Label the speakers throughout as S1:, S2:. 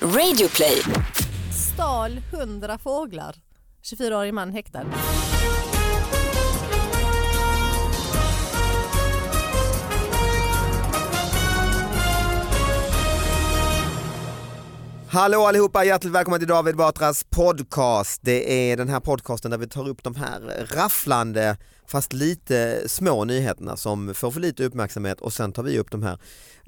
S1: Radioplay.
S2: Stal 100 fåglar. 24-årig man häktad.
S3: Hallå allihopa, hjärtligt välkomna till David Batras podcast. Det är den här podcasten där vi tar upp de här rafflande fast lite små nyheterna som får för lite uppmärksamhet och sen tar vi upp de här.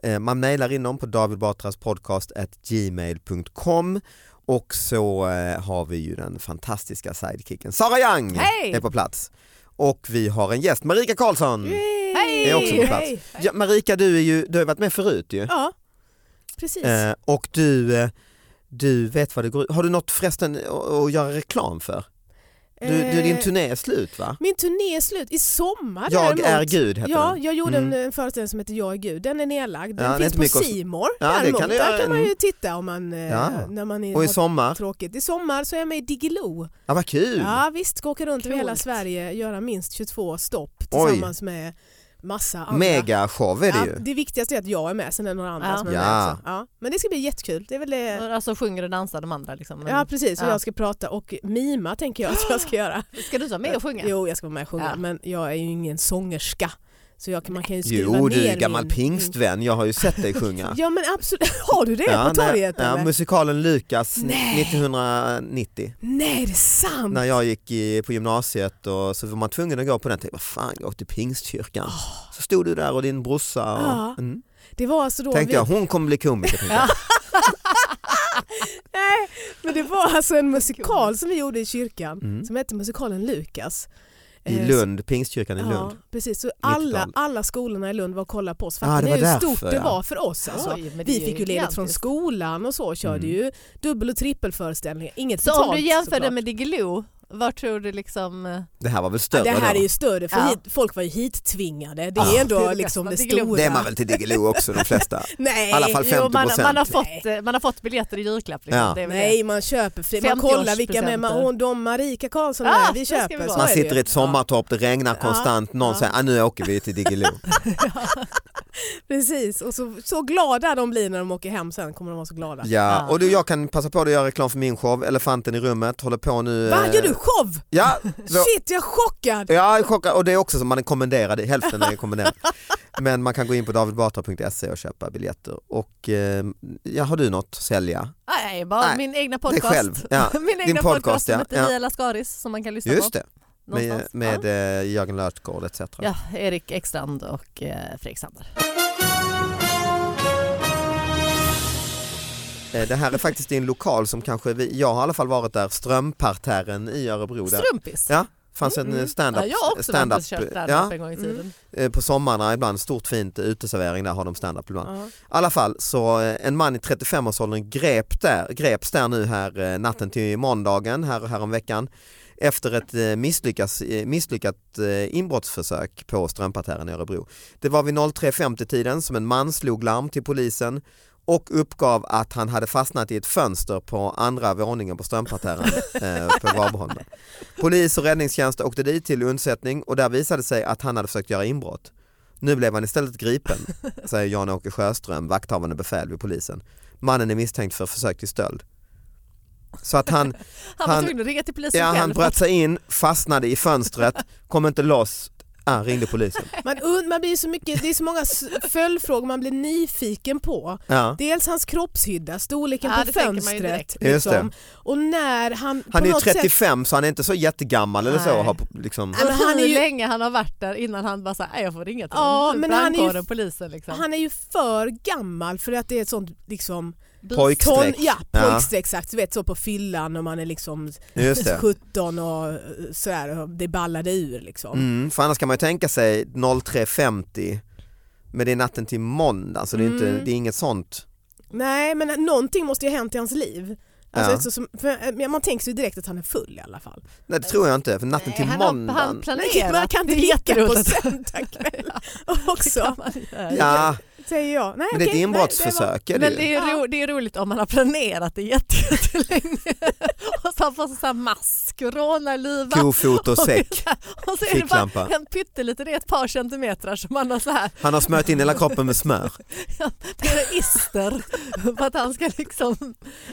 S3: Eh, Man mejlar in dem på davidbatraspodcast.gmail.com och så eh, har vi ju den fantastiska sidekicken Sara Young
S2: Hej!
S3: är på plats. Och vi har en gäst, Marika Karlsson
S2: Hej!
S3: är också på plats.
S4: Hej!
S3: Ja, Marika, du, är ju, du har ju varit med förut ju.
S4: Ja, precis.
S3: Eh, och du, eh, du vet vad det går ut Har du något förresten att att göra reklam för? Du, du, din
S4: Eh,
S3: turné är slut va?
S4: Min turné är slut i sommar
S3: Jag
S4: däremot.
S3: är Gud heter
S4: Ja,
S3: den.
S4: jag gjorde
S3: Mm.
S4: en eh, föreställning som heter Jag är Gud. Den är nedlagd.
S3: Ja, det
S4: Den
S3: är inte
S4: finns
S3: mycket
S4: på
S3: att-
S4: Simor
S3: Ja, det
S4: däremot.
S3: kan du göra.
S4: Där kan man
S3: Mm.
S4: ju titta om man, eh,
S3: Ja.
S4: när man är,
S3: Och i
S4: har
S3: sommar?
S4: tråkigt. I sommar så är jag med i Diggiloo.
S3: Ja vad kul!
S4: Ja, visst, ska åka runt över hela
S2: Coolt.
S4: Sverige göra minst 22 stopp
S3: Oj.
S4: tillsammans med massa andra.
S3: Mega show är det
S4: ja,
S3: ju.
S4: det viktigaste är att jag är med, sen är det några andra
S2: Ja.
S4: som är med
S3: Ja.
S4: också. Ja, men det ska bli jättekul. Det är väl det...
S2: Alltså sjunger och dansar de andra liksom. Men
S4: Ja precis, och
S2: Ja.
S4: jag ska prata och mima tänker jag att jag ska göra.
S2: Ska du vara med och sjunga?
S4: Jo, jag ska vara med och sjunga,
S2: Ja. men
S4: men jag är ju ingen sångerska. Så man kan ju skriva
S3: Jo
S4: ner
S3: du är gammal pingstvän, jag har ju sett dig sjunga.
S4: Ja men absolut, har du det
S3: Ja,
S4: på
S3: när-
S4: torget nej,
S3: ja,
S4: eller?
S3: musikalen Lukas
S4: Nej.
S3: 1990.
S4: Nej, det är sant!
S3: När jag gick i, på gymnasiet och så var man tvungen att gå på den. Tänkte, vad fan, jag åkte till pingstkyrkan. Så stod du där och din brorsa. Och,
S4: Ja.
S3: mm.
S4: Det var alltså då
S3: Tänkte
S4: vi...
S3: jag, hon kommer bli komiker. tänkte jag.
S4: Nej, men det var alltså en musikal som vi gjorde i kyrkan
S3: Mm.
S4: som hette musikalen Lukas.
S3: I
S4: Eh,
S3: Lund, pingstkyrkan i
S4: så- Ja,
S3: Lund.
S4: precis. Så alla,
S3: 90-talet.
S4: alla skolorna i Lund var och kollade på oss.
S3: Ja,
S4: Fattar
S3: Ah, det
S4: ni
S3: var
S4: hur
S3: därför,
S4: stort det
S3: ja.
S4: var för oss alltså.
S2: Oj, men det är
S4: Vi fick ju ledigt från
S2: gigantiskt.
S4: skolan och så körde
S3: Mm.
S4: ju dubbel och trippelföreställningar. Inget
S2: Så om
S4: betalt
S2: du jämför det
S4: såklart.
S2: med Diggiloo, vad tror du liksom... eh,
S3: Det här var väl större
S4: Ja, det här
S3: då?
S4: är ju större, för
S2: Ja.
S4: hit, folk var ju hit-tvingade. Det är
S3: Ja.
S2: Det är
S4: ändå
S2: det
S4: liksom det
S2: bästa, det glömde
S4: stora.
S3: Det är man väl till Diggiloo också de flesta.
S4: Nej,
S3: I alla fall
S2: jo,
S3: 50
S2: man, man, har
S3: procent.
S2: fått, eh, man har fått biljetter i julklapp. Liksom.
S3: Ja.
S2: Det är väl
S4: nej man köper fri. Man
S2: 50-årspresenter.
S4: kollar vilka med man, och de Marika Karlsson
S2: Ah,
S4: där,
S2: det
S4: vi
S2: ska vi
S4: köper.
S2: vara.
S4: så
S3: Man
S4: är det ju.
S3: sitter i ett sommartorp, det regnar
S4: Ja.
S3: konstant, någon
S4: Ja.
S3: säger ah, nu åker vi till Diggiloo.
S4: Precis, och så, så glada de blir när de åker hem sen kommer de vara så glada.
S3: Ja.
S2: Ja.
S3: Och du, jag kan passa på att göra reklam för min show, Elefanten i rummet, håller på nu.
S4: Va,
S3: eh,
S4: gör du show?
S3: Ja, då-
S4: Shit, jag är chockad!
S3: ja chockad. och det är också som man är kommenderad, hälften är kommenderad. Men man kan gå in på davidbatra.se och köpa biljetter. Och eh, ja, har du något att sälja?
S2: Nej, bara
S3: Nej,
S2: min egna
S3: Det är
S2: podcast.
S3: själv. Ja.
S2: Min egna
S3: podcast,
S2: podcast, som
S3: ja.
S2: heter
S3: Ja.
S2: Mia Lascaris som man kan lyssna
S3: Just
S2: på.
S3: det, med,
S2: någonstans.
S3: med eh, Jörgen Lötgård etc.
S2: Ja. ja, Erik Ekstrand och eh, Fredrik Sander.
S3: Eh, Det här är faktiskt i en lokal som kanske, vi, jag har i alla fall varit där, Strömparterren i Örebro. Där.
S2: Strumpis.
S3: Ja, fanns en eh, stand-up.
S2: Mm, Ja, jag har också
S3: stand-up,
S2: varit och kört stand-up
S3: ja,
S2: en gång i tiden.
S3: eh, på sommarna ibland, stort fint uteservering där har de stand-up ibland. I
S4: Ja.
S3: alla fall så eh, en man i 35-årsåldern grep där, greps där nu här eh, natten till måndagen här, häromveckan efter ett eh, misslyckas, eh, misslyckat eh, inbrottsförsök på Strömparterren i Örebro. Det var vid 03.50 tiden som en man slog larm till polisen och uppgav att han hade fastnat i ett fönster på andra våningen på Strömparterren eh, på Varboholmen. Polis och räddningstjänst åkte dit till undsättning och där visade det sig att han hade försökt göra inbrott. Nu blev han istället gripen, säger Jan-Åke Sjöström, vakthavande befäl vid polisen. Mannen är misstänkt för försök till stöld. Så att han,
S2: Han var
S3: Han-
S2: tvungen att ringa till polisen
S3: ja,
S2: själv.
S3: han bröt sig in, fastnade i fönstret, kom inte loss, ah, ringde polisen.
S4: Man, und- man blir så mycket, det är så många s- följdfrågor man blir nyfiken på.
S3: Ja.
S4: Dels hans kroppshydda, storleken
S2: Ja, det
S4: på
S2: tänker man ju direkt.
S4: fönstret. liksom.
S3: Just det.
S4: Och när han på
S3: Han är ju
S4: något sätt-
S3: 35 så han är inte så jättegammal eller så.
S2: Nej.
S3: och Har, liksom,
S4: Nej, men
S2: hur
S4: han är ju-
S2: länge han har varit där innan han bara såhär, jag får ringa till
S4: Ja,
S2: honom.
S4: men han är ju-
S2: Brandkåren, polisen liksom.
S4: Han är ju för gammal för att det är ett sånt liksom
S3: Pojkstreck.
S4: Ton, ja,
S3: Ja.
S4: pojkstreck exakt. Du vet så på fyllan och man är liksom
S3: just det.
S4: 17 och eh, sådär och det ballade ur liksom.
S3: Mm, för annars kan man ju tänka sig 03.50 men det är natten till måndag så det är, inte,
S4: Mm.
S3: det är inget sånt.
S4: Nej men någonting måste ju ha hänt i hans liv. Alltså,
S3: Ja.
S4: eftersom- för, men man tänker sig direkt att han är full i alla fall.
S3: Nej det tror jag inte för natten till
S2: han,
S3: måndagen.
S2: har, han planerat.
S4: Nej, man kan
S2: Det är
S4: dricka på
S2: jätteroligt.
S4: söndag kväll
S2: Ja,
S4: också
S2: man gör.
S3: ja
S4: säger jag. Nej,
S3: men det är ett
S4: okej, nej,
S3: inbrottsförsök. är
S2: Men
S3: det ju.
S2: det är, ro, det är roligt om man har planerat det jätte- jättelänge och man får sån här maskrona
S3: Kofot och säck.
S2: Och så Alltså, är det bara
S3: Ficklampa.
S2: en pytteliten, det är ett par centimeter som man har så här,
S3: Han har smört in hela kroppen med smör.
S2: det är ister för att han ska liksom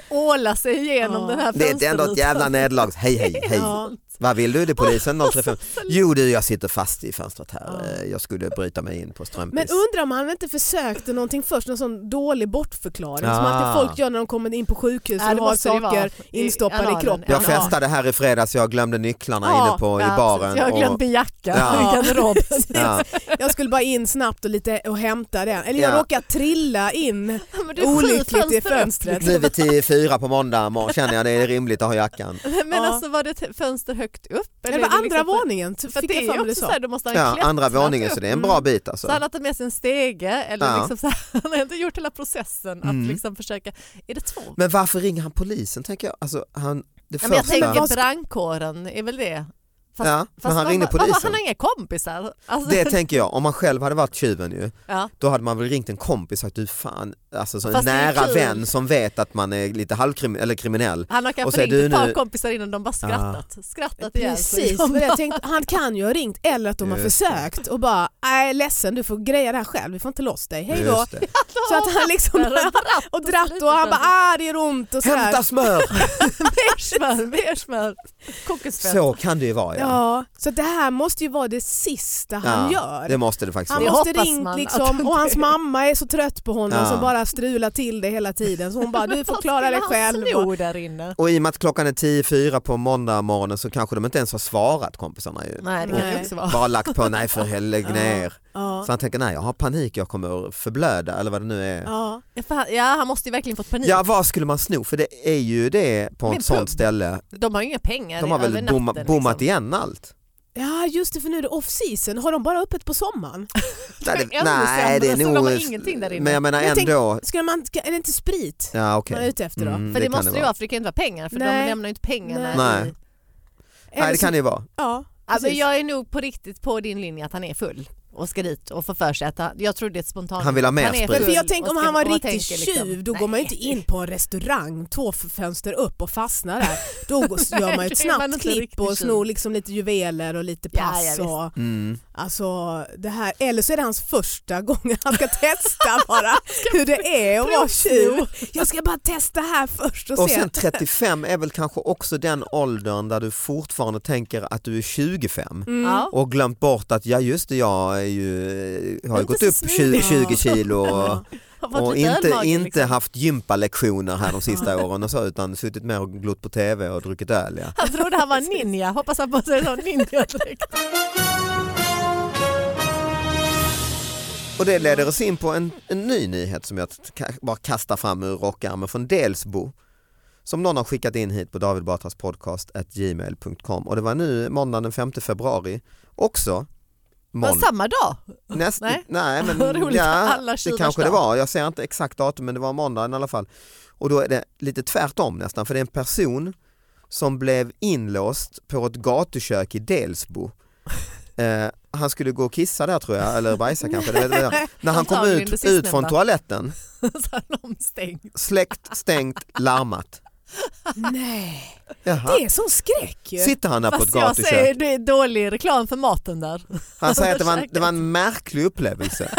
S2: åla sig igenom
S4: Ja.
S2: den här
S3: Det, det är ändå ett jävla nederlag. Hej hej hej.
S4: Ja.
S3: Vad vill du? Det är polisen 035. Jo du jag sitter fast i fönstret här. Eh, Jag skulle bryta mig in på
S4: Men
S3: Strömpis.
S4: undrar om han inte försökte någonting först, någon sån dålig bortförklaring som
S3: Ah.
S4: alltid folk gör när de kommer in på sjukhus
S2: Ja, det
S4: och har
S2: måste det vara.
S4: saker
S2: I
S4: instoppade i
S2: analen.
S4: kroppen.
S2: Ja.
S3: Jag festade här i fredags, jag glömde nycklarna
S4: Ja,
S3: inne på, i baren.
S2: Jag har glömt
S3: och,
S2: min jacka
S3: Ja.
S2: i garderoben.
S3: ja.
S4: Jag skulle bara in snabbt och, lite, och hämta den. Eller jag
S3: Ja.
S4: råkade trilla in
S2: Men det är sju
S4: olyckligt i
S2: fönster upp.
S4: fönstret.
S3: Nu vid tio i fyra på måndag morgon känner jag det är rimligt att ha jackan.
S2: Men
S4: Ja.
S2: alltså var det ett fönster högt upp?
S4: Det
S2: är
S4: var andra
S2: liksom-
S4: våningen,
S2: För
S4: fick
S2: det
S4: jag
S2: är
S4: för
S2: ju
S4: mig du
S2: också så
S4: sa.
S2: här, då måste han
S3: Ja, alltså.
S2: klättra
S3: andra våningen
S2: upp.
S3: så det är en
S2: Mm.
S3: bra bit
S2: Så
S3: alltså.
S2: han har tagit med sig en stege eller
S3: Ja.
S2: liksom så här, han har inte gjort hela processen att
S3: Mm.
S2: liksom försöka. Är det två?
S3: Men varför ringer han polisen tänker jag? Alltså, han, det
S2: Ja,
S3: första...
S2: men jag
S4: Vad
S2: tänker
S4: ska-
S2: brandkåren är väl det? fast-
S3: ja, men han
S2: man
S3: ringde
S2: bara, "Vad var-
S3: polisen.
S2: Han har inga kompisar. Alltså,
S3: Det tänker jag, om man själv hade varit tjuven ju,
S2: ja.
S3: då hade man väl ringt en kompis och sagt du fan, alltså så en
S2: Fast det är
S3: nära
S2: kul.
S3: vän som vet att man är lite halvkrim eller kriminell.
S2: Han har
S3: Och
S2: kanske
S3: så är
S2: ringt
S3: du
S2: ett par
S3: nu-
S2: kompisar innan de bara skrattat. Skrattat ihjäl sig.
S4: Precis,
S2: De
S4: men
S2: bara,
S4: jag tänkte, han kan ju ha ringt eller att de har
S3: Just det.
S4: försökt och bara nej ledsen du får greja det här själv, vi får inte loss dig, hej då.
S3: Just det.
S4: Så att han liksom
S2: Där har dratt
S4: och dratt
S2: slitit
S4: och
S2: den.
S4: han bara ah det gör ont och sådär.
S3: Hämta smör!
S2: Mer smör, mer smör. Kokosfett.
S3: Så kan det ju vara ja.
S4: Ja, så det här måste ju vara det sista han gör.
S3: Det måste det faktiskt
S4: Han
S2: Det
S3: vara.
S4: måste
S2: hoppas
S4: ringt
S2: man att
S4: liksom och hans mamma är så trött på honom
S3: Ja.
S4: som bara strular till det hela tiden så hon bara du får klara dig själv.
S2: Han snor där inne.
S3: Och i och med att klockan är 10.04 på måndag morgonen så kanske de inte ens har svarat kompisarna ju.
S2: Nej, det kan det
S4: Nej.
S2: också vara.
S3: Bara lagt på nej för helg ner.
S4: Ja.
S3: Så han tänker nej jag har panik, jag kommer förblöda eller vad det nu är.
S4: Ja.
S2: För han- Ja, han måste ju verkligen fått panik.
S3: Ja vad skulle man sno? För det är ju det på
S2: Men
S3: ett sånt
S2: pub.
S3: ställe.
S2: De har ju inga pengar
S3: De har
S2: över
S3: väl
S2: natten,
S3: bomma, bommat
S2: liksom.
S3: igen allt?
S4: ja just det för nu är det off season, har de bara öppet på sommaren?
S3: Nej,
S2: ännu sämre, så de har ingenting där inne.
S3: Men jag menar
S4: Jag tänk-
S3: ändå.
S4: Ska man, ska- är det inte sprit
S3: Ja,
S4: man är
S3: okej.
S4: ute efter då?
S3: Mm,
S2: För det,
S3: kan
S2: måste det vara, för det kan ju inte vara pengar för de
S4: Nej.
S2: lämnar ju inte pengarna.
S3: Nej.
S2: i-
S3: Nej det kan det ju vara.
S4: Ja,
S2: Alltså,
S4: precis.
S2: jag är nog på riktigt på din linje att han är full och ska dit och får för sig att han, jag tror det är ett spontant.
S3: Han vill ha mer
S2: är
S3: sprit.
S2: full
S4: Men för jag
S2: och
S4: tänker om
S2: ska-
S4: han var
S2: och
S4: riktig
S2: tänker liksom,
S4: tjuv då
S2: nej.
S4: går man ju inte in på en restaurang två f- fönster upp och fastnar där. Då går- gör man ju ett
S2: Det är man
S4: snabbt
S2: inte
S4: klipp
S2: riktig
S4: och
S2: tjuv.
S4: snor liksom lite juveler och lite
S2: Ja,
S4: pass.
S2: ja, visst.
S4: och,
S3: Mm.
S4: alltså, det här, eller så är det hans första gång han ska testa bara hur det är att vara tjuv. Jag ska bara testa här först och,
S3: Och
S4: se.
S3: sen 35 är väl kanske också den åldern där du fortfarande tänker att du är 25
S4: Mm.
S2: Ja.
S3: och glömt bort att ja just det jag är ju, har
S2: Inte
S3: ju gått
S2: så
S3: upp
S2: smidig.
S3: 20, 20 kilo och,
S4: Ja.
S2: Har fått
S3: och
S2: lite
S3: inte,
S2: ölmage,
S3: inte
S2: liksom.
S3: haft gympalektioner här de sista åren och så, utan suttit mer och glott på tv och druckit öl. Ja.
S2: Han trodde han var en ninja, hoppas han på sig en sån ninja-dräkt.
S3: Och det leder oss in på en, en ny nyhet som jag t- bara kastar fram ur rockärmen från Delsbo. Som någon har skickat in hit på David Batras podcast at gmail.com och det var nu måndagen den 5 februari också.
S2: Men
S3: Månd-
S2: samma dag?
S3: Näst,
S2: Nej.
S3: nej. men
S2: Vad roligt,
S3: ja,
S2: alla
S3: det
S2: tjuvars
S3: kanske det
S2: dag.
S3: var. Jag ser inte exakt datum men det var måndagen i alla fall. Och då är det lite tvärtom nästan för det är en person som blev inlåst på ett gatukök i Delsbo. Eh, han skulle gå och kissa där tror jag, eller bajsa kanske. Det vet jag. När han kom
S2: Antagligen det
S3: ut,
S2: sistnämnda.
S3: ut från toaletten,
S2: Så han omstängd.
S3: släckt, stängt, larmat.
S4: Nej,
S3: Jaha.
S4: det är sån skräck ju.
S3: Sitter han där på ett
S2: Fast jag
S3: gatukök?
S2: säger det är dålig reklam för maten där.
S3: Han säger att det var, en, det var en märklig upplevelse.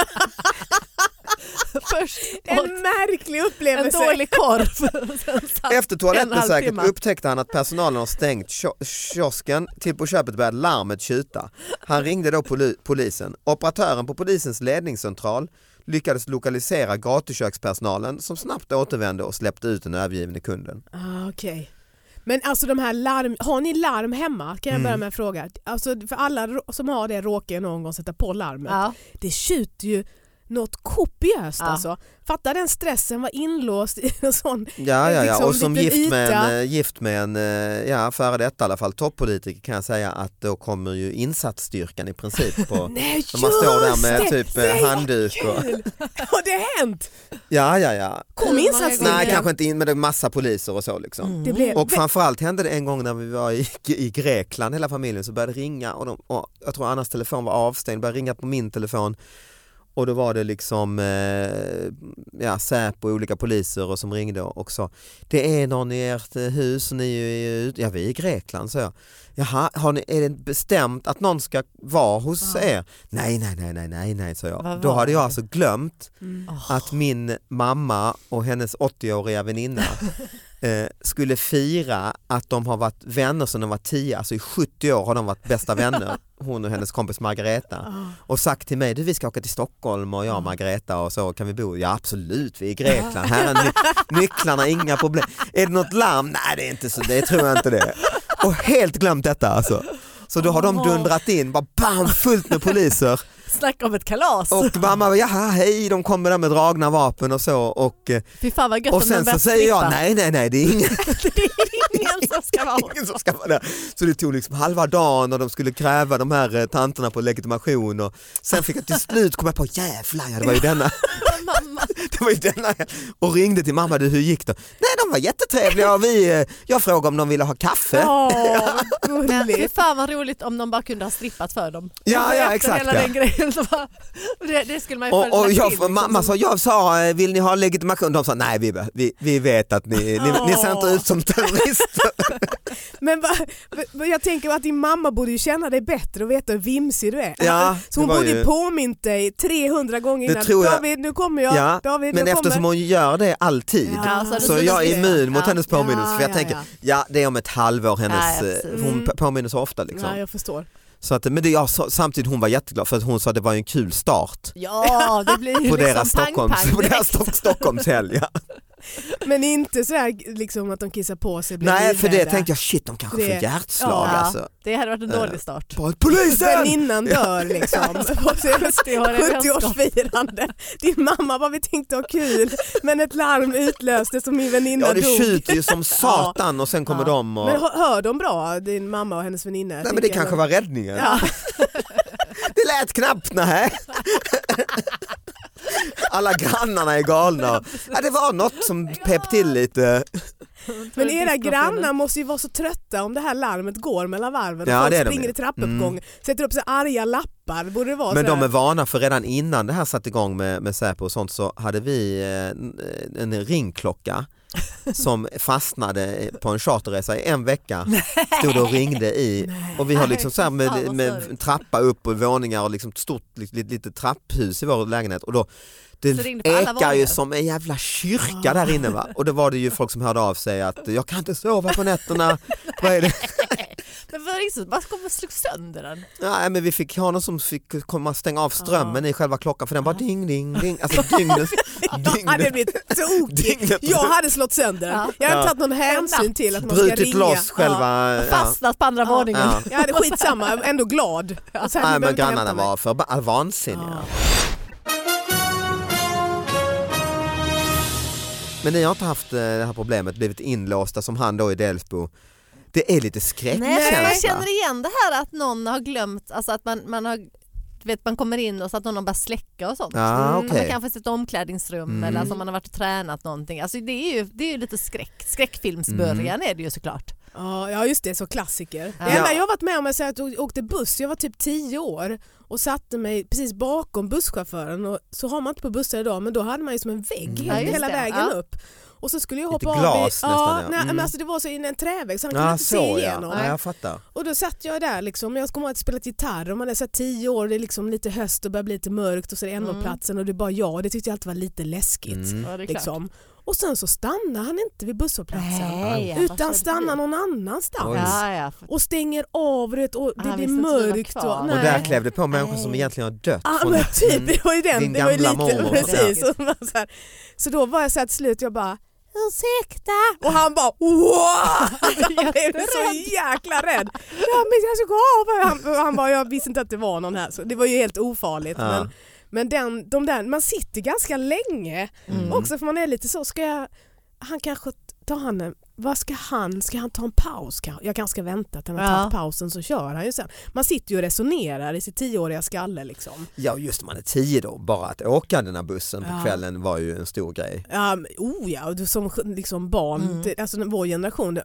S2: Först åt
S4: En märklig
S2: en
S4: upplevelse.
S2: dålig korv. och sen satt-
S3: Efter
S2: En
S3: toaletten
S2: halvtimme.
S3: säkert upptäckte han att personalen har stängt kio- kiosken. Till på köpet började larmet tjuta. Han ringde då poli- polisen. Operatören på polisens ledningscentral lyckades lokalisera gatukökspersonalen som snabbt återvände och släppte ut den övergivne kunden.
S4: Ah, okej. Men alltså de här larm, har ni larm hemma?
S3: Mm.
S4: Kan jag börja med en fråga? Alltså, för alla rå- som har det råkar ju någon gång sätta på larmet.
S2: Ja.
S4: Det tjuter ju något kopiöst
S2: Ja.
S4: alltså. Fatta den stressen, var inlåst i en sån.
S3: Ja, ja, ja.
S4: Liksom
S3: och som
S4: liten
S3: gift med, en,
S4: yta.
S3: eh, gift med en, eh, ja, före detta i alla fall, toppolitiker kan jag säga att då kommer ju insatsstyrkan i princip på
S4: Nej
S3: när man står där med
S4: just det!
S3: typ
S4: Nej,
S3: eh,
S4: vad
S3: handduk och...
S4: kul! Har det hänt?
S3: Ja, ja, ja.
S4: Kom insatsstyrkan.
S3: Mm. Nej, kanske inte in med massa poliser och så liksom.
S4: Det blev...
S3: Och framförallt hände det en gång när vi var i, i Grekland hela familjen så började det ringa och, de, och jag tror Annas telefon var avstängd, började ringa på min telefon Och då var det liksom eh, ja, Säpo och olika poliser och som ringde och sa det är någon i ert eh, hus, ni är ju ute, ja vi är i Grekland sa jag. Jaha, har ni, är det bestämt att någon ska vara hos
S2: Ja.
S3: er? Nej, nej, nej, nej, nej, nej, sa jag.
S2: Vad
S3: Då
S2: var
S3: hade jag
S2: det?
S3: alltså glömt
S4: Mm.
S3: att min mamma och hennes 80-åriga väninna eh, skulle fira att de har varit vänner sedan de var 10, alltså i 70 år har de varit bästa vänner, hon och hennes kompis Margareta.
S4: Ja.
S3: Och sagt till mig, du vi ska åka till Stockholm och jag och Margareta och så, kan vi bo? Ja absolut, vi är i Grekland, här är ny- nycklarna, inga problem. Är det något larm? Nej det är inte så, det tror jag inte det. Och helt glömt detta alltså. Så då har de dundrat in, bara bam, fullt med poliser.
S2: Snacka om ett kalas!
S3: Och mamma, jaha hej, de kommer där med dragna vapen och så. Och, eh,
S2: Fy fan vad gött
S3: och
S2: om de
S3: sen så
S2: börjar
S3: säger jag
S2: strippa.
S3: nej, nej, nej, det är ingen,
S2: Det är ingen som ska vara
S3: ingen som ska vara där. Så det tog liksom halva dagen och de skulle kräva de här eh, tanterna på legitimation och sen fick jag till slut komma på jävlar, ja, det var ju denna.
S2: mamma.
S3: Det var ju denna. Och ringde till mamma, du hur gick det? Nej, de var jättetrevliga och vi, eh, jag frågade om de ville ha kaffe.
S4: Ja, vad
S2: Men fy
S4: gulligt.
S2: fan vad roligt om de bara kunde ha strippat för dem.
S3: Ja,
S2: Alltså,
S3: ja,
S2: efter
S3: exakt,
S2: Hela
S3: ja.
S2: den grejen så bara, det, det skulle man ju följa
S3: Och, och
S2: till,
S3: jag,
S2: liksom.
S3: mamma sa, jag sa, eh, vill ni ha legitimation? De sa, nej vi, be- vi, vi vet att ni, ni, ni ser inte ut som terrorister.
S4: Men va, va- va, jag tänker att din mamma borde ju känna dig bättre och veta hur vimsig du är.
S3: Ja,
S4: så hon
S3: det var
S4: borde ju
S3: ju-
S4: påmint dig 300 gånger
S3: Det
S4: innan.
S3: tror jag.
S4: David, nu kommer jag.
S3: Ja,
S4: David,
S3: Men
S4: jag
S3: eftersom
S4: kommer.
S3: hon gör det alltid
S2: Ja, så
S3: så jag är immun mot
S2: Ja.
S3: hennes påminnelse.
S4: Ja,
S3: för jag
S4: ja,
S3: tänker,
S4: ja.
S3: ja. det är om ett halvår hennes,
S2: Ja, ja,
S3: eh,
S2: precis.
S3: hon
S4: Mm.
S3: p- påminner så ofta. Liksom.
S4: Ja, jag förstår.
S3: Så att, men det, jag, sa- samtidigt hon var jätteglad för att hon sa att det var en kul start
S2: Ja, det blir ju
S3: på
S2: liksom
S3: deras, Stockholms,
S2: pang, pang
S3: på deras
S2: direkt.
S3: Stock, Stockholmshelg. Ja.
S4: Men inte sådär liksom att de kissar på sig och blir
S3: Nej för det
S4: livrädda.
S3: tänkte jag, shit de kanske
S4: Det-
S3: får hjärtslag
S4: Ja.
S3: alltså.
S2: Det hade varit en dålig start.
S3: Bara, Polisen!
S4: Väninnan dör liksom på
S2: Det var det jag sa.
S4: 70-årsfirande. Din mamma bara vi tänkte ha kul men ett larm utlöstes och min väninna
S3: Ja det
S4: dog.
S3: tjuter ju som satan och sen kommer
S2: Ja.
S3: de och...
S4: Men hör, hör de bra din mamma och hennes väninna?
S3: Nej men
S4: Tänker
S3: det
S4: jag.
S3: kanske var räddningen.
S4: Ja.
S3: Det lät knappt, nej. Alla grannarna är galna. Ja, det var något som pep till lite.
S4: Men era grannar måste ju vara så trötta om det här larmet går mellan varven.
S3: Ja,
S4: Folk
S3: det är de
S4: springer
S3: ju. Mm.
S4: i trappuppgången, sätter upp så arga lappar. Borde det vara
S3: Men de
S4: sådär?
S3: är vana för redan innan det här satte igång med, med Säpo och sånt så hade vi eh, en ringklocka som fastnade på en charterresa i en vecka. Stod det och ringde i och vi har liksom så här
S2: Fan,
S3: med,
S2: vad störigt.
S3: med trappa upp och våningar och liksom ett stort lit- lit- litet trapphus i vår lägenhet och då
S2: Så
S3: det
S2: ringde på alla
S3: ekar ju
S2: våningar.
S3: som en jävla kyrka där inne va? och då var det ju folk som hörde av sig att jag kan inte sova på nätterna. Vad är det?
S2: Men var det inte så? Man kom och slog sönder den.
S3: Nej men vi fick ha någon som fick komma och stänga av strömmen i själva klockan för den bara
S2: Ja.
S3: ding ding ding. Alltså dygnet.
S4: Jag hade
S3: dygnet.
S4: blivit tokig.
S3: Dygnet.
S4: Jag hade slått sönder den.
S2: Ja.
S4: Jag hade
S3: Ja.
S4: tagit någon hänsyn till att man ska
S3: Brutit
S4: ringa.
S3: loss själva. Ja.
S2: Fastnat på andra
S4: Ja.
S2: våningen.
S3: Ja.
S4: Jag hade skitsamma, jag var ändå glad. Och sen,
S3: Nej
S4: ni behöver
S3: men
S4: inte hämta
S3: grannarna
S4: mig.
S3: var för ba- vansinniga. Men ni har inte haft eh, det här problemet, blivit inlåsta som han då i Delsbo. Det är lite
S2: Nej,
S3: skräckkänsla.
S2: men jag känner igen det här att någon har glömt, alltså att man, man har du vet man kommer in och så att någon har börjat släcka och sånt.
S3: Ja,
S2: Mm, Man
S3: okej.
S2: kanske sitt omklädningsrum
S3: Mm.
S2: eller alltså om man har varit och tränat någonting. Alltså det är ju, det är ju lite skräck. Skräckfilmsbörjan
S3: Mm.
S2: är det ju såklart.
S4: Ja, ja just det, så klassiker.
S2: Ja.
S4: Det enda
S3: Ja.
S4: jag varit med om är så att jag åkte buss, jag var typ 10 år och satte mig precis bakom busschauffören och så har man inte på bussar idag men då hade man ju som en vägg
S3: Mm.
S2: Ja, just
S4: hela
S2: det.
S4: vägen
S2: Ja.
S4: upp. Och så skulle jag
S3: Lite
S4: hoppa
S3: glas
S4: av vid,
S3: nästan,
S4: ja,
S3: ja.
S4: Nej,
S3: Mm.
S4: men alltså det var så in en trävägg så han kunde
S3: Ja,
S4: inte
S3: så
S4: se
S3: ja.
S4: igenom.
S3: ja, jag fattar.
S4: Och då satt jag där liksom, jag kommer ihåg att jag spelat gitarr och man är så här 10 år, det är liksom lite höst och börjar bli lite mörkt och så är det
S2: Mm.
S4: NO-platsen och det är bara jag och det tyckte jag alltid var lite läskigt.
S3: Mm.
S2: Ja, det är klart.
S4: Liksom. Och sen så stannar han inte vid busshållplatsen
S2: Nej, vad känner
S4: utan
S2: du?
S4: stannar någon annanstans.
S3: Oj.
S2: Ja, ja. för-
S4: och stänger av du vet, och det
S2: Han
S4: blir
S2: visste inte vi var
S4: mörkt.
S2: kvar.
S4: Och,
S2: Och
S3: Och där
S4: nej.
S3: klev det på människor som
S2: Nej.
S3: egentligen har dött.
S4: Ah,
S3: från-
S4: men typ,
S3: Mm.
S4: det var ju den,
S3: Din
S4: det var ju
S3: gamla
S4: lite,
S3: mormor.
S4: precis. Och man så, här, så då var jag så här till slut, jag bara ursäkta och han bara wow! Jag blev så jäkla rädd. Ja, men jag ska gå av. Han, och han bara, jag visste inte att det var någon här. Så det var ju helt ofarligt.
S3: Ja.
S4: Men, men den, de där, man sitter ganska länge
S2: Mm.
S4: också för man är lite så, ska jag, han kanske tar han en, vad ska han, ska han ta en paus kanske? Jag kanske ska vänta till han har
S2: Ja.
S4: tagit pausen så kör han ju sen. Man sitter ju och resonerar i sitt tioåriga skalle liksom.
S3: Ja just det, man är tio då, bara att åka den här bussen på
S4: Ja.
S3: kvällen var ju en stor grej.
S4: Ja, men, oh ja, och du som liksom barn,
S2: Mm.
S4: det- alltså vår generation, det-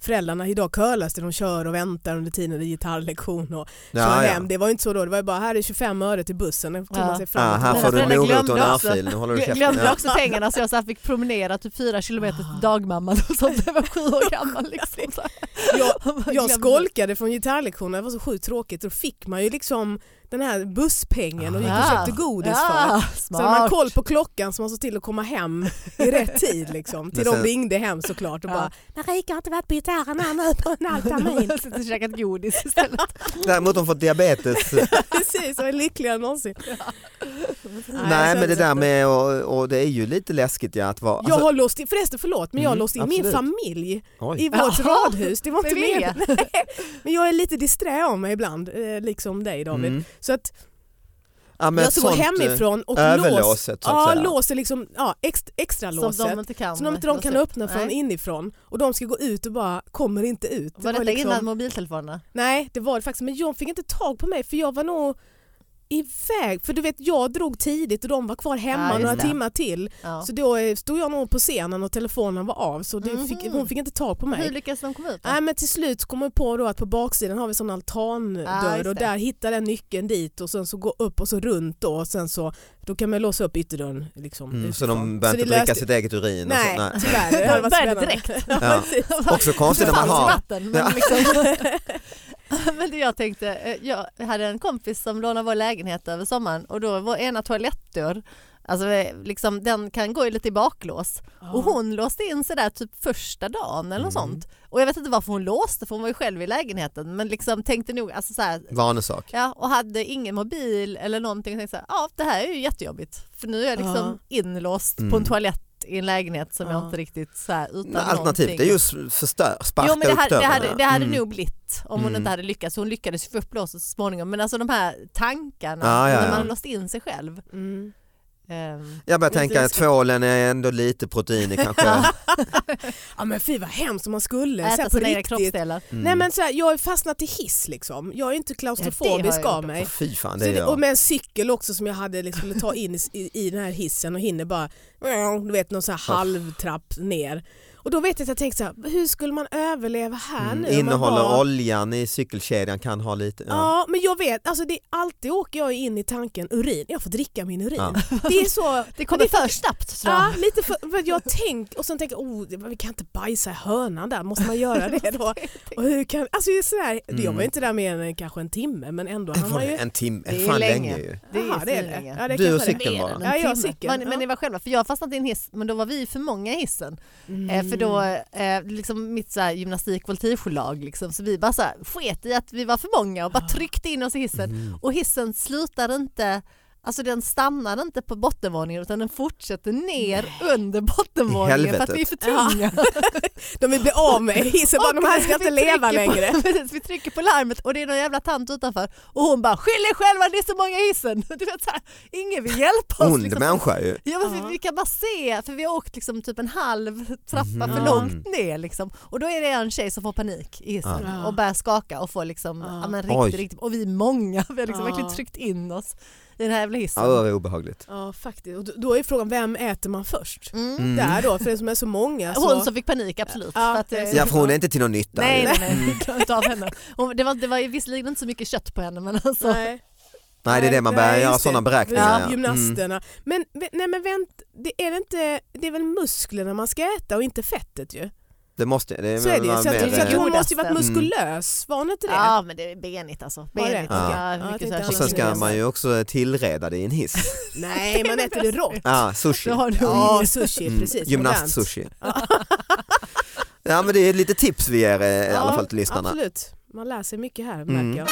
S4: föräldrarna idag curlas det, de kör och väntar under tiden det är gitarrlektion och kör
S3: ja.
S4: hem. Det var ju inte så då, det var ju bara här är 25 öre till bussen, den tog
S2: Ja.
S4: man sig
S3: Ja,
S4: fram och
S3: här
S4: tillbaka.
S3: får du en
S2: Föräldrar
S3: morot och en
S2: glömde också.
S3: örfil, nu håller du
S2: Jag
S3: käften.
S2: glömde
S3: Ja.
S2: också pengarna så jag så här fick promenera typ fyra kilometer till dagmamman och sånt när jag var sju år gammal. Liksom. Så här.
S4: Jag, jag
S2: glömde.
S4: skolkade från gitarrlektionerna, det var så sjukt tråkigt. Då fick man ju liksom den här busspengen och gick
S3: Ah.
S4: och köpte godis för.
S2: ja,
S4: Så hade man
S2: smart.
S4: koll på klockan så man såg till att komma hem i rätt tid. Liksom. Till
S3: Men
S4: de
S3: sen-
S4: ringde hem såklart och
S2: Ja.
S4: bara “Marika har inte varit på gitarren här nu på en halv
S2: Jag
S4: termin”.
S2: har suttit och käkat godis istället.
S3: Däremot de får diabetes.
S4: Precis, och är lyckligare än någonsin. Nej,
S3: Nej
S4: jag
S3: men det
S4: känner
S3: där
S4: så-
S3: med, och, och det är ju lite läskigt ja, att vara...
S4: Jag har låst in, förresten förlåt, men jag har
S3: Mm,
S4: låst in min
S3: absolut.
S4: familj
S3: oj.
S4: i vårt
S2: Jaha,
S4: radhus. Det var
S2: det
S4: inte
S2: är
S4: meningen. Nej, Men jag är lite disträ av mig ibland, eh, liksom dig David.
S3: Mm.
S4: Så att
S3: Ja, men
S4: jag
S3: ett
S4: står
S3: sånt, eh,
S4: hemifrån och låser.
S3: Överlåset så att
S4: Ja,
S3: säga.
S4: låser liksom, ja, ex, extra
S2: Som de
S4: låset.
S2: inte kan.
S4: Så de inte de kan
S2: låsa upp.
S4: öppna från
S2: Nej.
S4: inifrån och de ska gå ut och bara kommer inte ut.
S2: Var detta
S4: liksom-
S2: innan mobiltelefonerna?
S4: Nej, det var det faktiskt. Men John fick inte tag på mig för jag var nog iväg. För du vet, jag drog tidigt och de var kvar
S2: Ja,
S4: hemma
S2: just
S4: några
S2: det.
S4: timmar till.
S2: Ja.
S4: Så då eh, stod jag nog på scenen och telefonen var av så det fick,
S2: Mhm.
S4: hon fick inte tag på
S2: Hur
S4: mig.
S2: lyckades de komma ut? då?
S4: Nej, men till slut kom vi på då att på baksidan har vi sån
S2: Ja,
S4: altandörr
S2: just
S4: och
S2: det.
S4: där hittar den nyckeln dit och sen så gå upp och så runt då och sen så då kan man låsa upp ytterdörren. Liksom,
S3: Mm, så
S4: utifrån.
S3: de börjar
S4: Så
S3: inte
S4: det
S3: dricka
S4: löste-
S3: sitt eget urin?
S4: Nej,
S3: Och så, nej.
S4: tyvärr. Det hade varit
S2: Började
S4: spännande.
S2: direkt.
S3: Ja. Också konstigt när man
S2: Falskt
S3: har...
S2: vatten.
S3: Ja.
S2: Men, liksom. men det jag tänkte, eh, jag hade en kompis som lånade vår lägenhet över sommaren och då var ena toalettdörr, alltså eh, liksom, den kan gå ju lite i baklås och hon låste in sig där typ första dagen eller något
S3: Mm.
S2: sånt. Och jag vet inte varför hon låste för hon var ju själv i lägenheten men liksom tänkte nog, alltså så här,
S3: Vanesak.
S2: Ja, och hade ingen mobil eller någonting. Jag tänkte så här, ja det här är ju jättejobbigt. För nu är jag liksom inlåst
S3: Mm.
S2: på en toalett i en lägenhet som jag
S4: Ja.
S2: inte riktigt så här utan
S3: Men Alternativt det är
S2: någonting.
S3: ju s- förstör, sparka
S2: Jo men det
S3: upp
S2: hade, det
S3: dörren.
S2: hade, det hade
S3: Mm.
S2: nog blivit om hon
S3: Mm.
S2: inte hade lyckats. Hon lyckades ju få upp låset så småningom. Men alltså de här tankarna
S3: Ja, ja,
S2: när
S3: ja.
S2: man har låst in sig själv.
S4: Mm.
S2: Ehm,
S3: Jag börjar
S2: Det är
S3: tänka att
S2: läskigt.
S3: tvålen är ändå lite protein i kanske.
S4: Ja men fy vad hemskt om man skulle. så
S2: äta
S4: här på
S2: sina egna
S4: riktigt.
S2: kroppsdelar.
S3: Mm.
S4: Nej men så här, jag är fastnat i hiss liksom. Jag är inte klaustrofobisk
S2: jag
S4: av
S2: gjort
S4: mig.
S3: Fy fan
S4: Så
S3: det är
S4: det, och
S3: jag.
S4: med en cykel också som jag hade liksom, skulle ta in i, i, i den här hissen och hinner bara, du vet någon sån här
S3: Uff.
S4: halvtrapp ner. Och då vet jag att jag tänkte så här, hur skulle man överleva här
S3: Mm.
S4: nu? om man
S3: Innehåller
S4: var-
S3: oljan i cykelkedjan kan ha lite.
S4: Ja.
S3: Ja.
S4: men jag vet, alltså det, alltid åker jag in i tanken urin, jag får dricka min urin.
S3: Ja.
S4: Det är så,
S2: Det kommer för snabbt tror jag.
S4: ja, lite för, för jag tänker, och sen tänker jag, oh, det- vi kan inte bajsa i hörnan där, måste man göra det då? Och hur kan, alltså det är sådär, det- jag var
S3: Mm.
S4: ju inte där mer än kanske en timme men ändå hann
S3: Var
S4: man
S3: det
S4: ju...
S3: en timme,
S2: Det är
S3: fan
S2: länge.
S3: länge ju.
S2: Det är
S4: Jaha,
S2: svinlänge.
S4: Ja, det
S3: Du och
S4: kanske det är.
S3: cykeln bara.
S4: Ja, jag
S2: Timme.
S4: cykeln,
S2: Men, men
S4: ja.
S2: ni var själva, för jag fastnade i en hiss men då var vi för många i hissen. Eh, För då,
S4: Mm.
S2: eh, liksom mitt så här, gymnastik voltigelag liksom, så vi bara så här, sket i att vi var för många och
S4: Ah.
S2: bara tryckte in oss i hissen.
S4: Mm.
S2: Och hissen slutade inte, alltså den stannade inte på bottenvåningen utan den fortsatte ner under bottenvåningen för att vi är för tunga.
S4: De vill bli av med hissen, bara, de här ska
S2: vi
S4: inte leva
S2: trycker på-
S4: längre.
S2: Precis, vi trycker på larmet och det är någon jävla tant utanför och hon bara skyll er själva, det är så många i hissen. Du vet, så här, ingen vill hjälpa oss.
S3: Ond
S2: liksom.
S3: människa ju.
S2: Ja, men vi,
S4: Ja.
S2: vi kan bara se, för vi har åkt liksom typ en halv trappa för
S4: Mhm.
S2: långt ner. Liksom. Och då är det en tjej som får panik i hissen
S4: Ja.
S2: och börjar skaka och får liksom,
S4: Ja.
S2: ja, men
S3: Oj.
S2: riktigt, riktigt, och vi är många, vi har liksom
S4: Ja.
S2: verkligen tryckt in oss i den här jävla hissen.
S3: Ja, det var obehagligt.
S4: Ja faktiskt, och då- då är frågan vem äter man först?
S2: Mm.
S3: Mm.
S4: Där då, för det som är så många. Så...
S2: Hon som fick panik absolut.
S4: Ja.
S2: För att, eh,
S3: Ja för hon är inte till någon nytta.
S2: Nej,
S3: ju.
S2: nej, nej, vi klarar inte av henne. Hon, det, var, det var ju visserligen inte så mycket kött på henne men alltså.
S4: Nej.
S3: nej det är det man börjar
S4: nej,
S3: göra
S4: just
S3: sådana
S4: det.
S3: beräkningar.
S4: Ja,
S3: ja. Mm.
S4: Gymnasterna. Men, vä- nej, men vänt, det, är det, inte, det är väl musklerna man ska äta och inte fettet ju?
S3: Det måste det är
S4: Så är det
S3: väl
S4: ju.
S3: mer,
S4: Så, att, så att
S3: eh,
S4: hon måste ju varit
S2: Mm.
S4: muskulös, var hon inte det?
S2: Ja men det är benigt alltså.
S4: Var det?
S2: Benigt.
S3: Ja.
S2: Ja.
S4: Ja, jag
S2: mycket
S4: tänkte
S2: så här
S4: annars
S3: Och sen ska
S4: Kinesiska.
S3: man ju också tillreda det i en hiss.
S4: Nej, man äter det rått.
S3: Ja, sushi.
S2: Då har du
S4: Ja, sushi,
S3: Mm,
S4: precis. modernt.
S3: Gymnast-sushi. Ja men det är lite tips vi ger eh, i alla
S4: Ja,
S3: fall till lyssnarna.
S4: Absolut, man lär sig mycket här
S3: Mm.
S4: märker jag.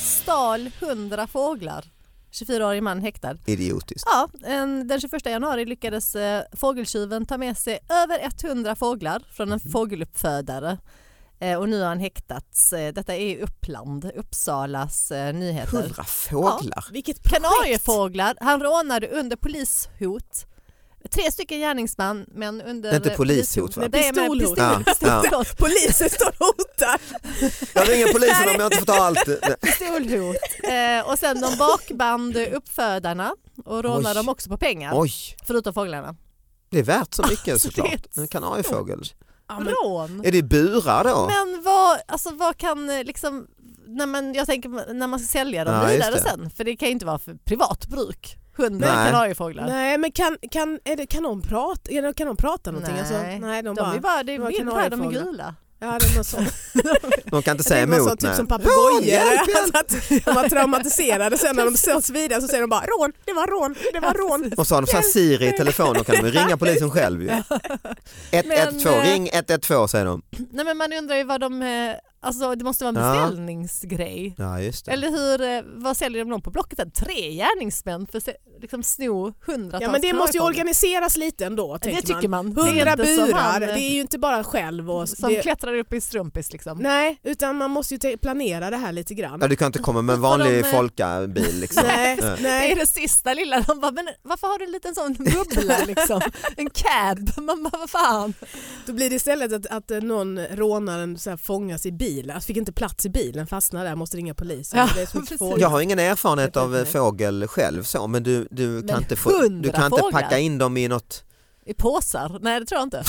S2: stal 100 fåglar. 24-årig man häktad.
S3: Idiotiskt.
S2: Ja, en, den 21 januari lyckades eh, fågeltjuven ta med sig över 100 fåglar från
S3: Mhm.
S2: en fågeluppfödare. Eh, och nu har han häktats. Eh, detta är i Uppland, Uppsalas eh, nyheter.
S3: Hundra fåglar.
S4: Vilket projekt!
S2: Kanariefåglar han rånade under polishot. Tre stycken gärningsmän men under
S3: Det är inte polishot, va?
S2: Nej, Det är med
S4: Pistolhot.
S2: pistolhot.
S3: Ja, ja.
S2: Pistolhot.
S4: Polisen står och hotar.
S3: Jag ringer polisen om jag inte får ta allt. Nej.
S2: Pistolhot. Eh, och sen de bakband uppfödarna och rånade
S3: Oj.
S2: dem också på pengar.
S3: Oj,
S2: Förutom fåglarna.
S3: det är värt så mycket
S2: Alltså, det är
S3: såklart. En kanariefågel.
S4: Ja, men,
S2: Rån.
S3: Är det burar då?
S2: Men vad, alltså, vad kan eh, liksom, när man, jag tänker när man ska sälja dem
S3: Ja, just
S2: vidare
S3: det.
S2: sen, för det kan ju inte vara för privat bruk. Hundar
S3: Nej.
S2: och kanariefåglar.
S4: nej men kan, kan, är det, kan, de prata, är det, kan de prata någonting?
S2: Nej.
S4: Alltså, nej
S2: De
S4: de, bara,
S2: är bara, det är
S4: Några
S2: vild här, de är
S4: kanariefåglar.
S2: gula.
S4: ja det var så.
S3: De kan inte säga
S4: Det var så
S3: emot.
S4: typ
S3: nej.
S4: som
S3: Rån,
S4: papegojor.
S3: hjälp, hjälp.
S4: Alltså att de var traumatiserade sen när de sågs vidare så säger de bara rån, det var rån, det var rån.
S3: Och så har de så här Siri i telefonen, då kan de ju ringa polisen själv ju. 112,
S2: Men, eh,
S3: ring 112 säger de.
S2: Nej men man undrar ju vad de, eh, alltså det måste vara en
S3: Ja.
S2: beställningsgrej.
S3: Ja just det.
S2: Eller hur, eh, vad säljer de dem på Blocket? än? Tre gärningsmän för att se- liksom sno hundratals
S4: Ja men det måste ju
S2: kanariefåglar.
S4: organiseras lite ändå
S2: Det
S4: tänker
S2: tycker
S4: man.
S2: man. Det är
S4: Hundra
S2: inte som
S4: burar,
S2: han,
S4: det
S2: eh,
S4: är ju inte bara själv och...
S2: som
S4: det,
S2: klättrar upp i strumpis liksom.
S4: nej, utan man måste ju te- planera det här lite grann.
S3: Ja, du kan inte komma med en
S2: Vad de,
S3: vanlig
S2: eh,
S3: folkabil liksom.
S4: Nej,
S3: Nej.
S2: Det är
S4: nej.
S2: det sista lilla. De bara, men varför har du en liten sån bubbla liksom? En cab? Man bara, vad fan?
S4: Då blir det istället att, att eh, någon rånaren så här fångas i bilen, alltså fick inte plats i bilen, fastnar där, måste ringa polisen.
S2: Ja,
S4: det är så mycket
S2: precis.
S4: folk.
S3: Jag har ingen erfarenhet
S4: Det är
S3: av eh,
S4: perfekt.
S3: fågel själv så men du, du kan
S2: Men
S3: inte, få, du
S2: hundra
S3: kan inte
S2: fåglar.
S3: packa in dem i något.
S2: I påsar? Nej det tror jag inte.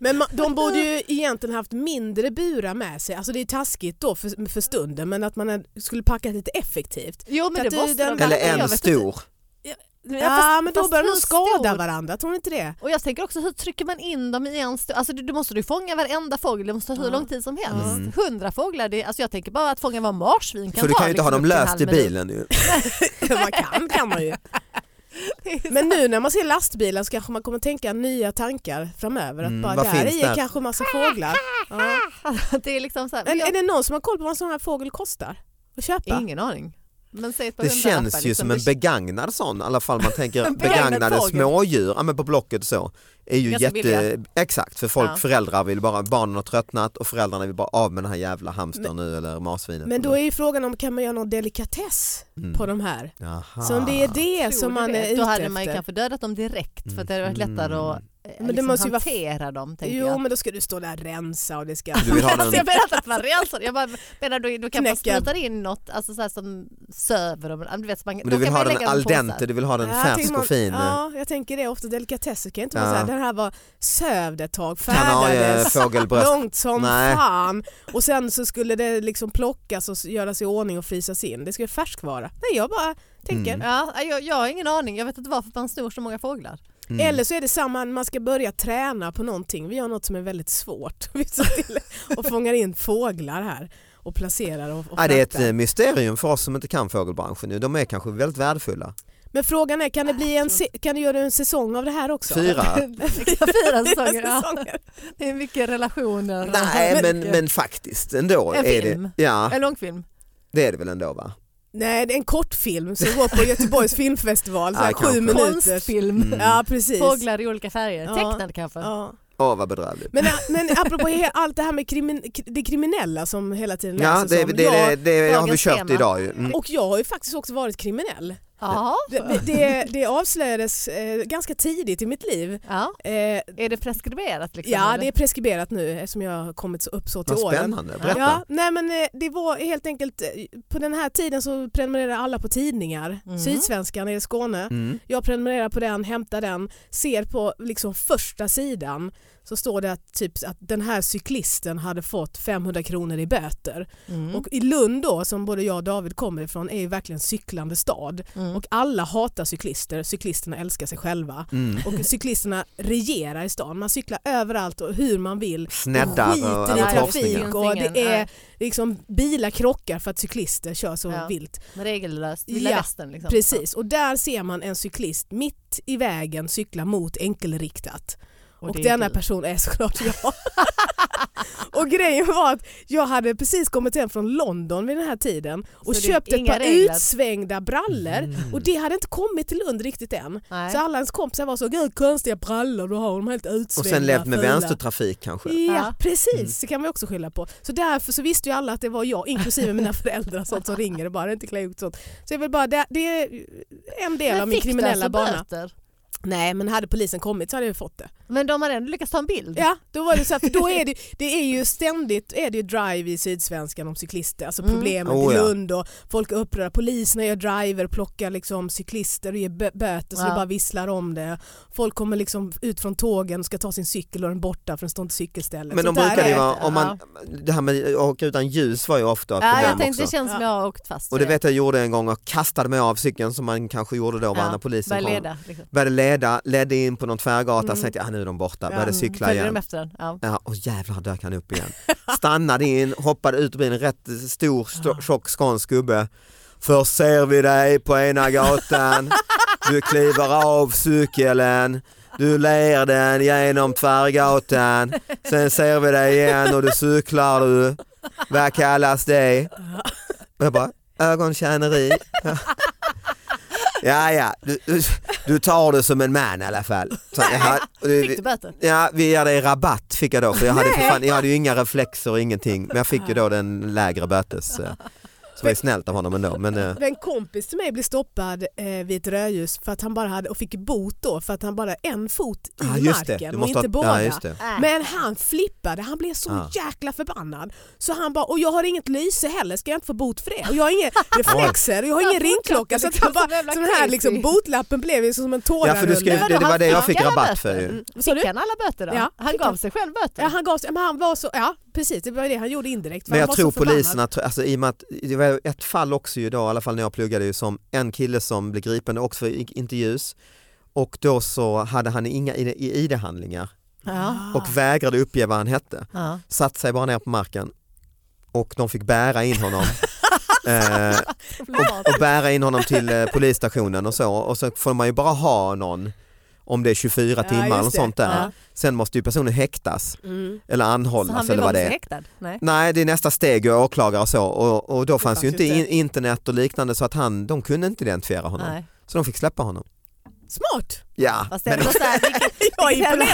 S4: Men ma- de borde ju egentligen haft mindre burar med sig, alltså det är taskigt då för, för stunden men att man är- skulle packa lite effektivt.
S2: Jo men
S4: Att
S2: det
S4: du-
S2: måste
S4: den-
S2: de
S3: Eller
S2: verkligen. Jag
S3: en
S2: vet
S3: stor.
S2: inte.
S4: Ja, men då
S2: fast
S4: börjar
S2: hur
S4: de skada
S2: stor?
S4: varandra, tror ni inte det?
S2: Och jag tänker också hur trycker man in dem i en stor... Alltså du, du måste ju fånga varenda fågel, det måste ta hur
S4: Ja.
S2: lång tid som
S3: Mm.
S2: helst. Hundra fåglar, det, alltså jag tänker bara att fånga vad marsvin kan
S3: För du kan
S2: ta,
S3: ju inte ha
S2: liksom,
S3: dem
S2: upp till en
S3: löst i
S2: halv minut.
S3: bilen ju.
S4: man kan kan man ju. Men nu när man ser lastbilar så kanske man kommer tänka nya tankar framöver. Att
S3: Mm,
S4: bara,
S3: vad
S4: där
S3: finns
S4: är
S3: där?
S4: kanske massa fåglar. Ja.
S2: det är liksom så här,
S4: Men
S2: jag,
S4: är det någon som har koll på vad en sån här fågel kostar? Att köpa?
S2: ingen aning. Men säg ett par
S3: Det
S2: hundralappar,
S3: känns ju
S2: liksom.
S3: som en
S2: Det-
S3: begagnad sån i alla fall man tänker
S2: begagnad
S3: begagnade
S2: fågel.
S3: smådjur ja, men på Blocket så. Är ju
S2: Ganska
S3: jätte, exakt för folk,
S2: Ja.
S3: föräldrar vill bara, barnen har tröttnat och föräldrarna vill bara av med den här jävla hamstern nu eller marsvinet.
S4: Men då är ju frågan om kan man göra någon delikatess
S3: Mm. Ah.
S4: på de här?
S3: Jaha.
S4: Så om det är
S2: Tror
S4: det som
S2: du
S4: man
S2: det?
S4: är ute
S2: Då hade
S4: efter.
S2: man ju kanske dödat dem direkt för att det hade varit
S3: Mm.
S2: lättare att eh,
S4: det
S2: liksom
S4: måste ju vara-
S2: hantera dem. Tänker
S4: Jo
S2: jag.
S4: men då ska du stå där och rensa och det ska...
S3: Du vill ha
S2: Alltså jag
S3: den,
S2: menar inte att man rensar, jag bara menar då, då kan man
S4: Knäcka.
S2: spruta in något alltså så här som söver dem. Ja, Du vet, så man,
S3: men
S2: då
S3: du vill
S2: kan
S3: ha
S2: man ju
S3: den
S2: lägga dem i
S3: al
S2: påsar.
S3: dente, du vill ha den
S4: Ja, jag
S3: färsk
S4: tänker
S3: och
S4: man-
S3: fin. eh.
S4: Ja, jag tänker det ofta. Delikatesser kan ju inte
S3: Ja.
S4: vara såhär, den här var sövd ett tag,
S3: eh,
S4: färdades
S3: Kanariefågelbröst.
S4: långt som
S3: Nej.
S4: fan och sen så skulle det liksom plockas och s- göras i ordning och frysas in. Det ska ju färskvara. Nej jag bara tänker.
S3: Mm.
S2: Ja, nej, jag, jag har ingen aning, jag vet inte varför man snor så många fåglar.
S3: Mm.
S4: Eller så är det samma, man ska börja träna på någonting. Vi gör något som är väldigt svårt. Vi ser till och fångar in fåglar här och placerar och, och
S3: Ja, det är ett
S4: fraktar.
S3: eh, mysterium för oss som inte kan fågelbranschen nu. De är kanske väldigt värdefulla.
S4: Men frågan är, kan det bli en, se- kan du göra en säsong av det här också?
S3: Fyra?
S2: Fyra säsonger, ja.
S4: säsonger.
S2: Det är mycket relationer.
S3: Nej men,
S2: Mycket.
S3: men faktiskt ändå.
S2: En
S3: är
S2: film.
S3: Det, ja
S2: En långfilm.
S3: det är det väl ändå va?
S4: Nej, det är en kortfilm som går på Göteborgs filmfestival, så här
S3: Ja, kanske.
S4: sju minuter.
S2: Konstfilm.
S3: Mm.
S4: Ja, precis.
S2: Fåglar i olika färger,
S4: Ja.
S2: tecknad kanske.
S4: Ja.
S3: Åh vad bedrövligt.
S4: Men, men apropå he- allt det här med krimin- k- det kriminella alltså, som hela tiden
S3: Ja,
S4: läses
S3: det,
S4: om.
S3: det, det, det har vi
S2: dagens
S3: kört
S2: tema.
S3: idag ju. Mm.
S4: Jag, och jag har ju faktiskt också varit kriminell.
S2: Ja.
S4: Det, det, det avslöjades eh, ganska tidigt i mitt liv.
S2: ja.
S4: Eh,
S2: Är det preskriberat? Liksom,
S4: ja,
S2: eller?
S4: det är preskriberat nu eftersom jag har kommit så upp så till
S3: Vad
S4: åren.
S3: spännande, berätta.
S4: Ja, nej men eh, det var helt enkelt, eh, på den här tiden så prenumererade alla på tidningar.
S2: Mhm.
S4: Sydsvenskan i Skåne.
S3: Mm.
S4: Jag prenumererar på den, hämtar den, ser på liksom första sidan så står det att, typ, att den här cyklisten hade fått 500 kronor i böter.
S2: Mm.
S4: Och i Lund då, som både jag och David kommer ifrån, är ju verkligen en cyklande stad.
S2: Mm.
S4: Och alla hatar cyklister, cyklisterna älskar sig själva.
S3: Mm.
S4: Och cyklisterna regerar i stan, man cyklar överallt och hur man vill.
S3: Snäddar och
S4: skiter
S3: alla
S4: i
S3: korsningar.
S4: trafik och
S2: Ingen,
S4: det är
S2: nej.
S4: liksom bilar krockar för att cyklister kör så
S2: Ja.
S4: vilt.
S2: Regellöst, Vilda
S4: Ja,
S2: Västern. Liksom.
S4: Precis, och där ser man en cyklist mitt i vägen cykla mot enkelriktat. Och,
S2: det är
S4: denna
S2: du.
S4: person är såklart jag. och grejen var att jag hade precis kommit hem från London vid den här tiden och
S2: Så det är
S4: köpt ett
S2: inga
S4: par
S2: regler. Mm.
S4: utsvängda brallor och det hade inte kommit till Lund riktigt än.
S2: Nej.
S4: Så alla ens kompisar var så, gud konstiga brallor du har, de är helt utsvängda.
S3: Och sen levt med
S4: fula." Mm,
S3: vänstertrafik kanske.
S4: Ja
S2: Ja.
S4: precis,
S3: Mm.
S4: det kan man ju också skylla på. Så därför så visste ju alla att det var jag, inklusive mina föräldrar och sånt som ringer och bara det är inte klokt sånt. Så jag vill bara, det, det är en del
S2: Men
S4: av min
S2: fick du
S4: kriminella
S2: alltså
S4: bana.
S2: Böter?
S4: Nej men hade polisen kommit så hade jag ju fått det.
S2: Men de har ändå lyckats ta en bild.
S4: Ja, då var det så här, för då är det, det är ju ständigt är det ju drive i Sydsvenskan om cyklister, alltså
S2: Mm.
S4: problemet
S3: Oh,
S4: i
S3: ja.
S4: Lund och folk är upprörda, poliserna gör driver, plockar liksom cyklister och ger bö- böter så
S2: Ja.
S4: det bara visslar om det. Folk kommer liksom ut från tågen och ska ta sin cykel och den är borta för den står inte cykelstället.
S3: Men de
S4: Sånt där
S3: brukade ju
S4: är-
S3: vara, om man, det här med att åka utan ljus var ju ofta ett
S2: Ja, jag
S3: problem
S2: tänkte
S3: också.
S2: det känns som jag har åkt fast.
S3: Och det vet jag gjorde en gång och kastade mig av cykeln som man kanske gjorde då ja, när polisen
S2: Började
S3: kom.
S2: leda. Liksom.
S3: Började leda, ledde in på någon tvärgata,
S4: Mm.
S3: sen tänkte jag ah, nu är de borta,
S4: Ja.
S3: började
S4: Mm.
S3: cykla
S2: Följde
S3: igen.
S2: de efter den? Ja.
S3: Ja, och jävlar dök han upp igen. Stannade in, hoppade ut ur bilen, rätt stor st- tjock skånsk gubbe. Först ser vi dig på ena gatan, du kliver av cykeln, du ler den genom tvärgatan, sen ser vi dig igen och du cyklar du. Vad kallas det? Och jag bara, ögontjäneri. Ja, ja, du, du, du tar det som en man i alla fall. Så, jag,
S2: Fick du böter?
S3: Ja, vi ger dig rabatt fick jag då för jag hade, för
S4: Nej.
S3: fan, jag hade ju inga reflexer och ingenting men jag fick ju då den lägre bötes. eh, Så var ju snällt av honom ändå. Men, eh,
S4: Men En kompis till mig blev stoppad eh, vid ett rödljus för att han bara hade, och fick bot då för att han bara en fot i
S3: ah,
S4: marken
S3: just det, du
S4: och
S3: måste
S4: inte
S3: ha,
S4: båda.
S3: ja, just det.
S2: Nej.
S4: Men han flippade, han blev så
S3: Ah.
S4: jäkla förbannad. Så han bara, och jag har inget lyse heller, ska jag inte få bot för det? Och jag har inga reflexer och jag har ingen ringklocka. Så att han bara, så den här liksom, botlappen blev ju som en
S3: Ja
S4: tårar
S3: för du skulle,
S4: under.
S3: det, det var det jag fick
S2: alla
S3: rabatt
S2: böter?
S3: för ju.
S2: Mm.
S4: Vad sa
S2: Fick
S4: du?
S2: han alla böter då?
S4: Ja,
S2: han
S4: fick
S2: gav
S4: han.
S2: sig själv böter?
S4: Ja, han gav sig, men han var så, ja precis det var det han gjorde indirekt. för
S3: Men
S4: han
S3: jag
S4: var
S3: tror
S4: så förbannad.
S3: poliserna, tr- alltså, i och med att det var ett fall också ju då, i alla fall när jag pluggade, ju, som en kille som blev gripen också för i- inte ljus och då så hade han inga ID- ID-handlingar
S2: Ja.
S4: Ah.
S3: och vägrade uppge vad han hette.
S2: Ja.
S3: Satt sig bara ner på marken och de fick bära in honom. eh, och bära in honom till eh, polisstationen och så och så får man ju bara ha någon om det är 24
S4: Ja,
S3: timmar eller
S4: just det.
S3: sånt där.
S2: Ja.
S3: Sen måste ju personen häktas
S4: Mm.
S3: eller
S2: Så
S3: anhållas
S2: han blev
S3: eller vad
S2: också
S3: alltså, det är.
S2: häktad? Nej.
S3: Nej det är nästa steg och åklagare och så och, och då fanns ju
S4: fanns
S3: inte
S4: ju
S3: in,
S4: inte.
S3: internet och liknande så att han, de kunde inte identifiera honom.
S2: Nej.
S3: Så de fick släppa honom.
S4: Smart!
S3: Ja,
S2: Fast det är
S3: men,
S2: ändå så här, vilket-
S4: Jag är imponerad.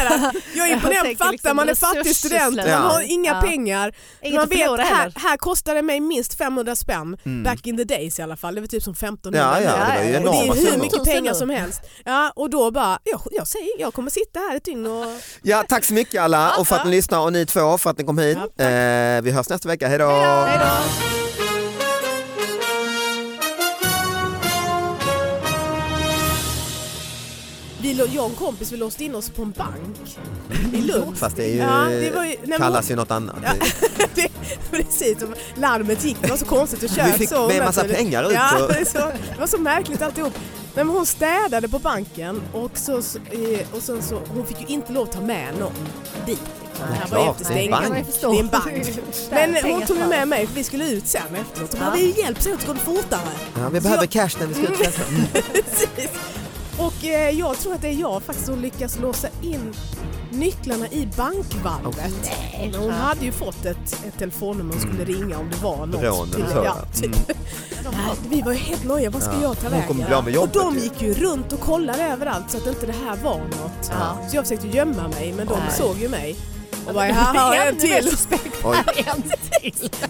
S4: Jag är
S2: Jag
S4: imponerad.
S2: tänker
S4: Fattar
S2: liksom
S4: man är fattig
S2: resursslöseri.
S4: student,
S3: Ja.
S4: man har inga
S2: Ja.
S4: pengar.
S2: inget
S4: Man
S2: att
S4: vet,
S2: förlora
S4: här,
S2: heller.
S4: här kostade det mig minst 500 spänn
S3: Mm.
S4: back in the days i alla fall. Det var typ som 15
S3: ja, ja, det
S2: Ja,
S3: var ju
S2: ja,
S4: Och det
S3: enorma
S4: är hur
S2: summor.
S4: mycket
S2: Tusen
S4: pengar
S2: nu.
S4: som helst. Ja, och då bara, jag, jag säger, jag kommer sitta här ett dygn och...
S3: Ja, tack så mycket alla och för att ni lyssnar och ni två för att ni kom hit.
S4: Ja,
S3: eh, vi hörs nästa vecka, hej då!
S2: Hej då.
S4: Vi, lå- jag och en kompis vi låste in oss på en bank i Lund.
S3: Fast det, är ju,
S4: Ja, det var ju- nej, men
S3: kallas
S4: hon-
S3: ju något annat.
S4: Det, precis, och larmet gick, det var så konstigt att köra
S3: Vi fick
S4: så.
S3: med massa pengar ut
S4: Ja,
S3: och-
S4: det, är så, det var så märkligt alltihop. Nej, men hon städade på banken och, så, så- eh, och sen så, hon fick ju inte lov att ta med någon dit. Det här var
S3: klart,
S4: ju inte
S3: det är en
S4: stängt.
S3: bank.
S4: Det är en bank. Men hon tog ju
S2: med
S4: med mig för vi skulle ut sen efteråt. Hon
S2: Ja.
S4: bara, vi hjälps åt, går det fortare?
S3: Ja, vi behöver cash när vi ska ut och festa.
S4: Precis. Och eh, jag tror att det är jag faktiskt som lyckas låsa in nycklarna i bankvalvet. Men Hon hade ju fått ett, ett telefonnummer hon skulle ringa om det var något.
S3: Rån eller
S4: till-
S3: Mm. så,
S4: ja,
S3: ja.
S4: typ. Nej, Vi var ju helt nojiga, vad ska
S3: Ja.
S4: jag ta
S3: Hon
S4: vägen?
S3: kommer bli av med jobbet
S4: och de
S3: ju.
S4: gick ju runt och kollade överallt så att inte det här var något.
S2: Ja.
S4: Så jag försökte gömma mig men de
S2: Nej.
S4: såg ju mig. Och bara, här har jag en till.
S2: Suspekt.
S3: Oj.
S2: En till.